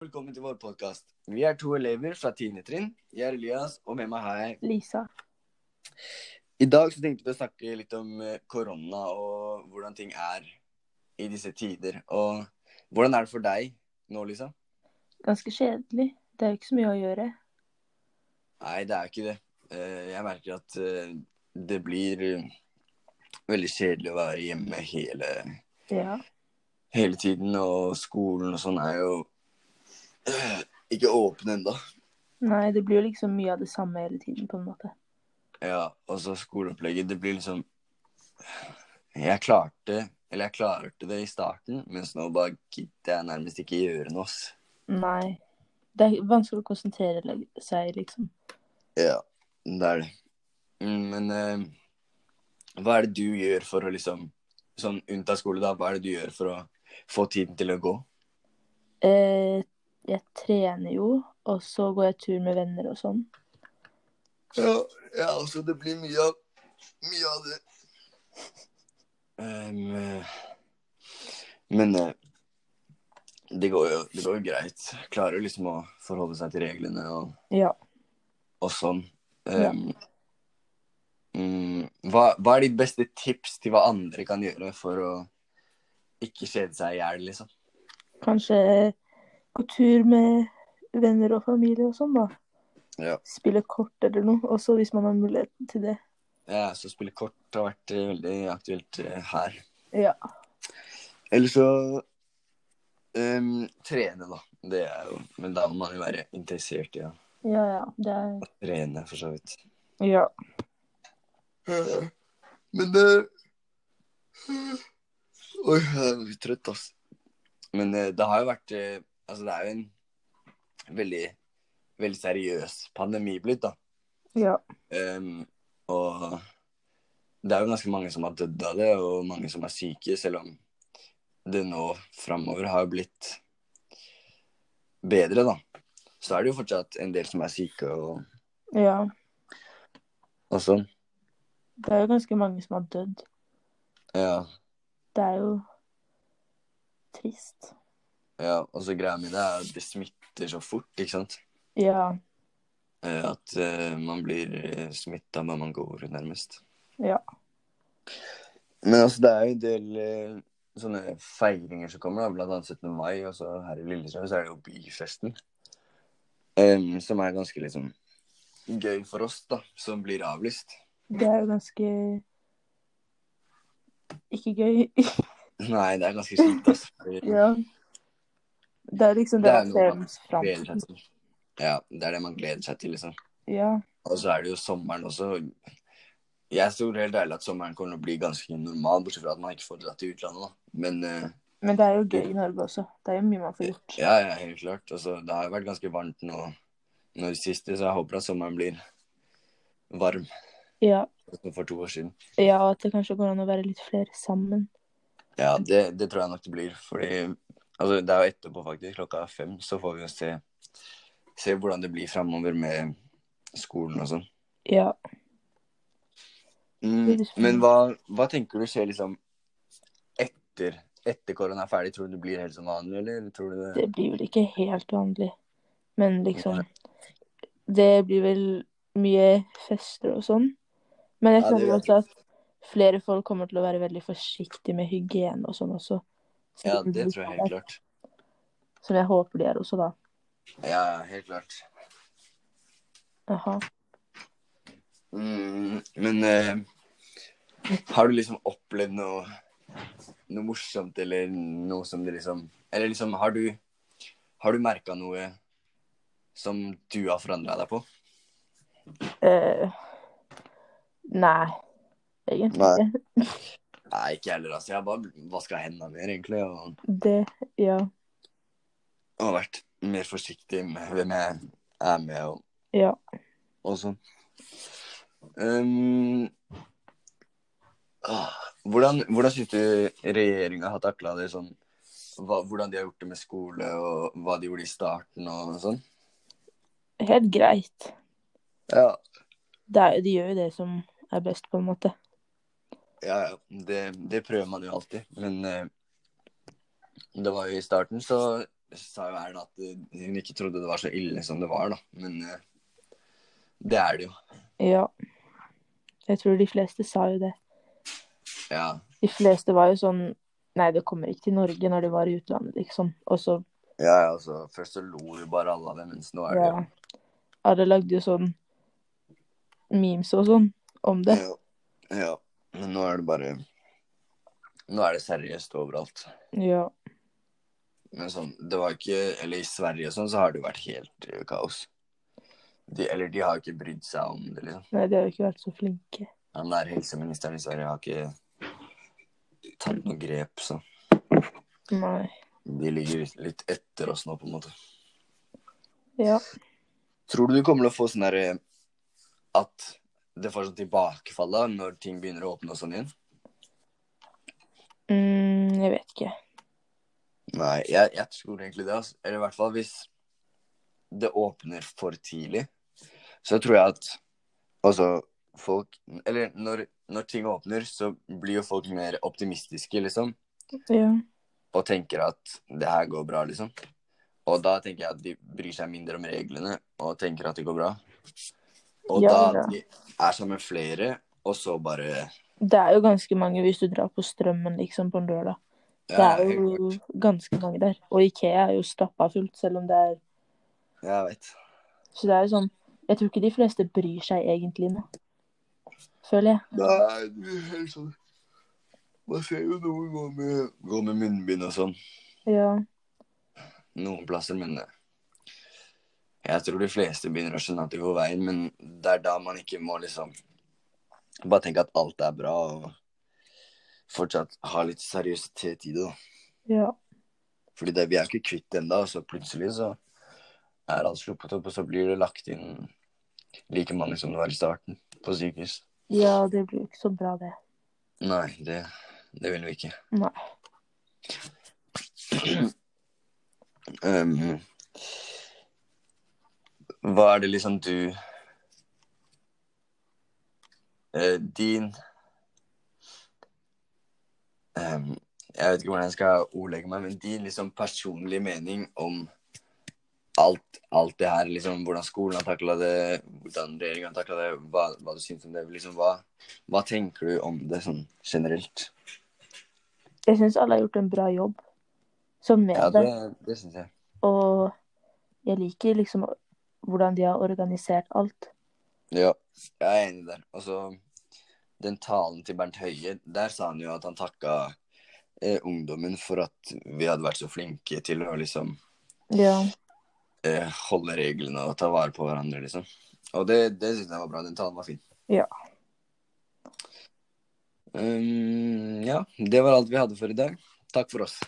vår podkast. Vi er to elever fra 10. trinn. Jeg er Elias, og med meg har jeg Lisa. I dag så tenkte vi å snakke litt om eh, korona og hvordan ting er i disse tider. Og hvordan er det for deg nå, Lisa? Ganske kjedelig. Det er jo ikke så mye å gjøre. Nei, det er ikke det. Eh, Jeg merker at eh, det blir eh, veldig kjedelig å være hjemme hele, Ja. hele tiden. Og skolen og sånn er jo eh, ikke åpen ennå. Nei, det blir jo liksom mye av det samme hele tiden, på en måte. Ja, og så skoleopplegget, det blir liksom Jeg klarte, eller jeg klarte det i starten, mens nå bare gidder jeg nærmest ikke gjøre noe, ass. Nei. Det er vanskelig å konsentrere le- seg, liksom. Ja, det er det. Mm, Men eh, hva er det du gjør for å liksom Sånn unntatt skole, da, hva er det du gjør for å få tiden til å gå? Eh, jeg trener jo, og så går jeg tur med venner og sånn. Ja, ja altså, det blir mye av Mye av det. eh, men eh, det går jo det går jo greit. Klarer jo liksom å forholde seg til reglene og Ja. og sånn. Ja. Um, mm, hva, hva er ditt beste tips til hva andre kan gjøre for å ikke kjede seg i hjel, liksom? Kanskje gå tur med venner og familie og sånn, da. Ja. Spille kort eller noe, også hvis man har muligheten til det. Ja, så spille kort har vært eh, veldig aktuelt eh, her. Ja. Eller så um, trene, da. Det er jo Men da må man jo være interessert i å Ja, ja. Det er trene, for så vidt. Ja. Eh, Men det Oi, jeg er litt trøtt, ass. Men eh, det har jo vært eh, Altså, det er jo en veldig, veldig seriøs pandemi blitt, da. Ja. Ehm, og det er jo ganske mange som har dødd av det, og mange som er syke, selv om det nå framover har blitt bedre, da. Så er det jo fortsatt en del som er syke og, Ja. og sånn. Det er jo ganske mange som har dødd. Ja. Det er jo trist. Ja, og så greia mi det er at det smitter så fort, ikke sant? Ja. Eh, At eh, man blir smitta når man går, nærmest. Ja. Men altså, det er jo en del eh, sånne feiringer som kommer, da, blant annet 17. mai, og så her i Lillestrøm så er det jo byfesten. Em, som er ganske liksom gøy for oss, da, som blir avlyst. Det er jo ganske ikke gøy. Nei, det er ganske kjipt, altså. fordi ja. Det er liksom det, Det er man noe ser man mest fram gleder til. seg til. Ja, det er det man gleder seg til, liksom. Ja. Og så er det jo sommeren også. Jeg tror helt ærlig at sommeren kommer til å bli ganske normal, bortsett fra at man ikke får dratt til utlandet, da. Men eh, Men det er jo gøy i Norge også. Det er jo mye man får gjort. ja, ja, helt klart. Altså, det har jo vært ganske varmt nå nå i det siste, så jeg håper at sommeren blir varm, Ja. som for to år siden. ja, og at det kanskje går an å være litt flere sammen. Ja, det, det tror jeg nok det blir. Fordi altså, det er jo etterpå, faktisk. Klokka er fem. Så får vi jo se, se hvordan det blir framover med skolen og sånn. Ja. Mm, men hva, hva tenker du skjer liksom etter, etter korona er ferdig? Tror du det blir helt som vanlig, eller tror du det Det blir vel ikke helt vanlig, men liksom Det blir vel mye fester og sånn. Men jeg Ja, det føler gjør også at flere folk kommer til å være veldig forsiktige med hygiene og sånn også. Så Ja, blir sånn det tror jeg helt klart. Som jeg håper de er også, da. Ja, ja, helt klart. Aha. Mm, men eh, har du liksom opplevd noe, noe morsomt, eller noe som det liksom Eller liksom, har du, har du merka noe som du har forandra deg på? Eh, nei, egentlig Nei. ikke. Nei, ikke jeg heller, altså. Jeg har bare vaska hendene mer, egentlig. og... Det Ja. og har vært mer forsiktig med hvem jeg er med og, Ja. og sånn. Ehm, ah, hvordan hvordan syns du regjeringa har takla det sånn? Hva, hvordan de har gjort det med skole, og hva de gjorde i starten og sånn? Helt greit. Ja, Det er, de gjør jo det som er best, på en måte. ja. ja. Det, det prøver man jo alltid. Men eh, det var jo i starten, så sa jo Erna at eh, hun ikke trodde det var så ille som det var, da. Men eh, det er det jo. Ja. Jeg tror de fleste sa jo det. Ja. De fleste var jo sånn Nei, det kommer ikke til Norge når de var i utlandet, liksom. Og så ja, altså, først så lo jo bare alle av det, mens nå er det ja. Alle lagde jo sånn memes og sånn om det. jo ja. ja. Men nå er det bare Nå er det seriøst overalt. Ja. Men sånn, det var ikke Eller i Sverige og sånn, så har det jo vært helt eh, kaos. De, eller de har ikke brydd seg om det, liksom. Nei, de har jo ikke vært så flinke. Han der helseministeren i Sverige har ikke tatt noe grep, så Nei. de ligger litt etter oss nå, på en måte. Ja. Tror du du kommer til å få sånn derre At det får sånn tilbakefall da, når ting begynner å åpne og sånn igjen? Mm, jeg vet ikke. Nei, jeg, jeg tror egentlig det. Altså. Eller i hvert fall hvis det åpner for tidlig, så tror jeg at altså folk Eller når, når ting åpner, så blir jo folk mer optimistiske, liksom. Ja. Og tenker at det her går bra, liksom. Og da tenker jeg at de bryr seg mindre om reglene og tenker at det går bra. Og Ja, da ja. at de er sammen med flere, og så bare Det er jo ganske mange hvis du drar på Strømmen liksom på en lørdag. Det Ja, er jo helt klart. ganske mange der. Og Ikea er jo stappa fullt, selv om det er Jeg vet. Så det er jo sånn Jeg tror ikke de fleste bryr seg egentlig nå. Føler jeg. Nei, det er helt sånn Man ser jo noen gå med, gå med munnbind og sånn. Ja. Noen plasser, men eh, Jeg tror de fleste begynner å skjønne at det går veien, men det er da man ikke må liksom Bare tenke at alt er bra, og fortsatt ha litt seriøsitet i det, da. Ja. Fordi det, vi er ikke kvitt det ennå, og så plutselig så er alt sluppet opp, og så blir det lagt inn like mange som det var i starten, på sykehus. ja, det blir jo ikke så bra, det. Nei, det, det vil vi ikke. Nei. Ehm, hva er det liksom du eh, Din ehm, Jeg vet ikke hvordan jeg skal ordlegge meg, men din liksom personlige mening om alt, alt det her, liksom hvordan skolen har takla det, hvordan regjeringen har takla det, hva, hva du syns om det, liksom hva, hva tenker du om det sånn generelt? Jeg syns alle har gjort en bra jobb som Ja, medier. det, det syns jeg. Og jeg liker liksom hvordan de har organisert alt. Ja, jeg er enig der. Altså, den talen til Bernt Høie, der sa han jo at han takka eh, ungdommen for at vi hadde vært så flinke til å liksom Ja. eh, holde reglene og ta vare på hverandre, liksom. Og det, det syns jeg var bra. Den talen var fin. Ja. Um, ja, det var alt vi hadde for i dag. Takk for oss.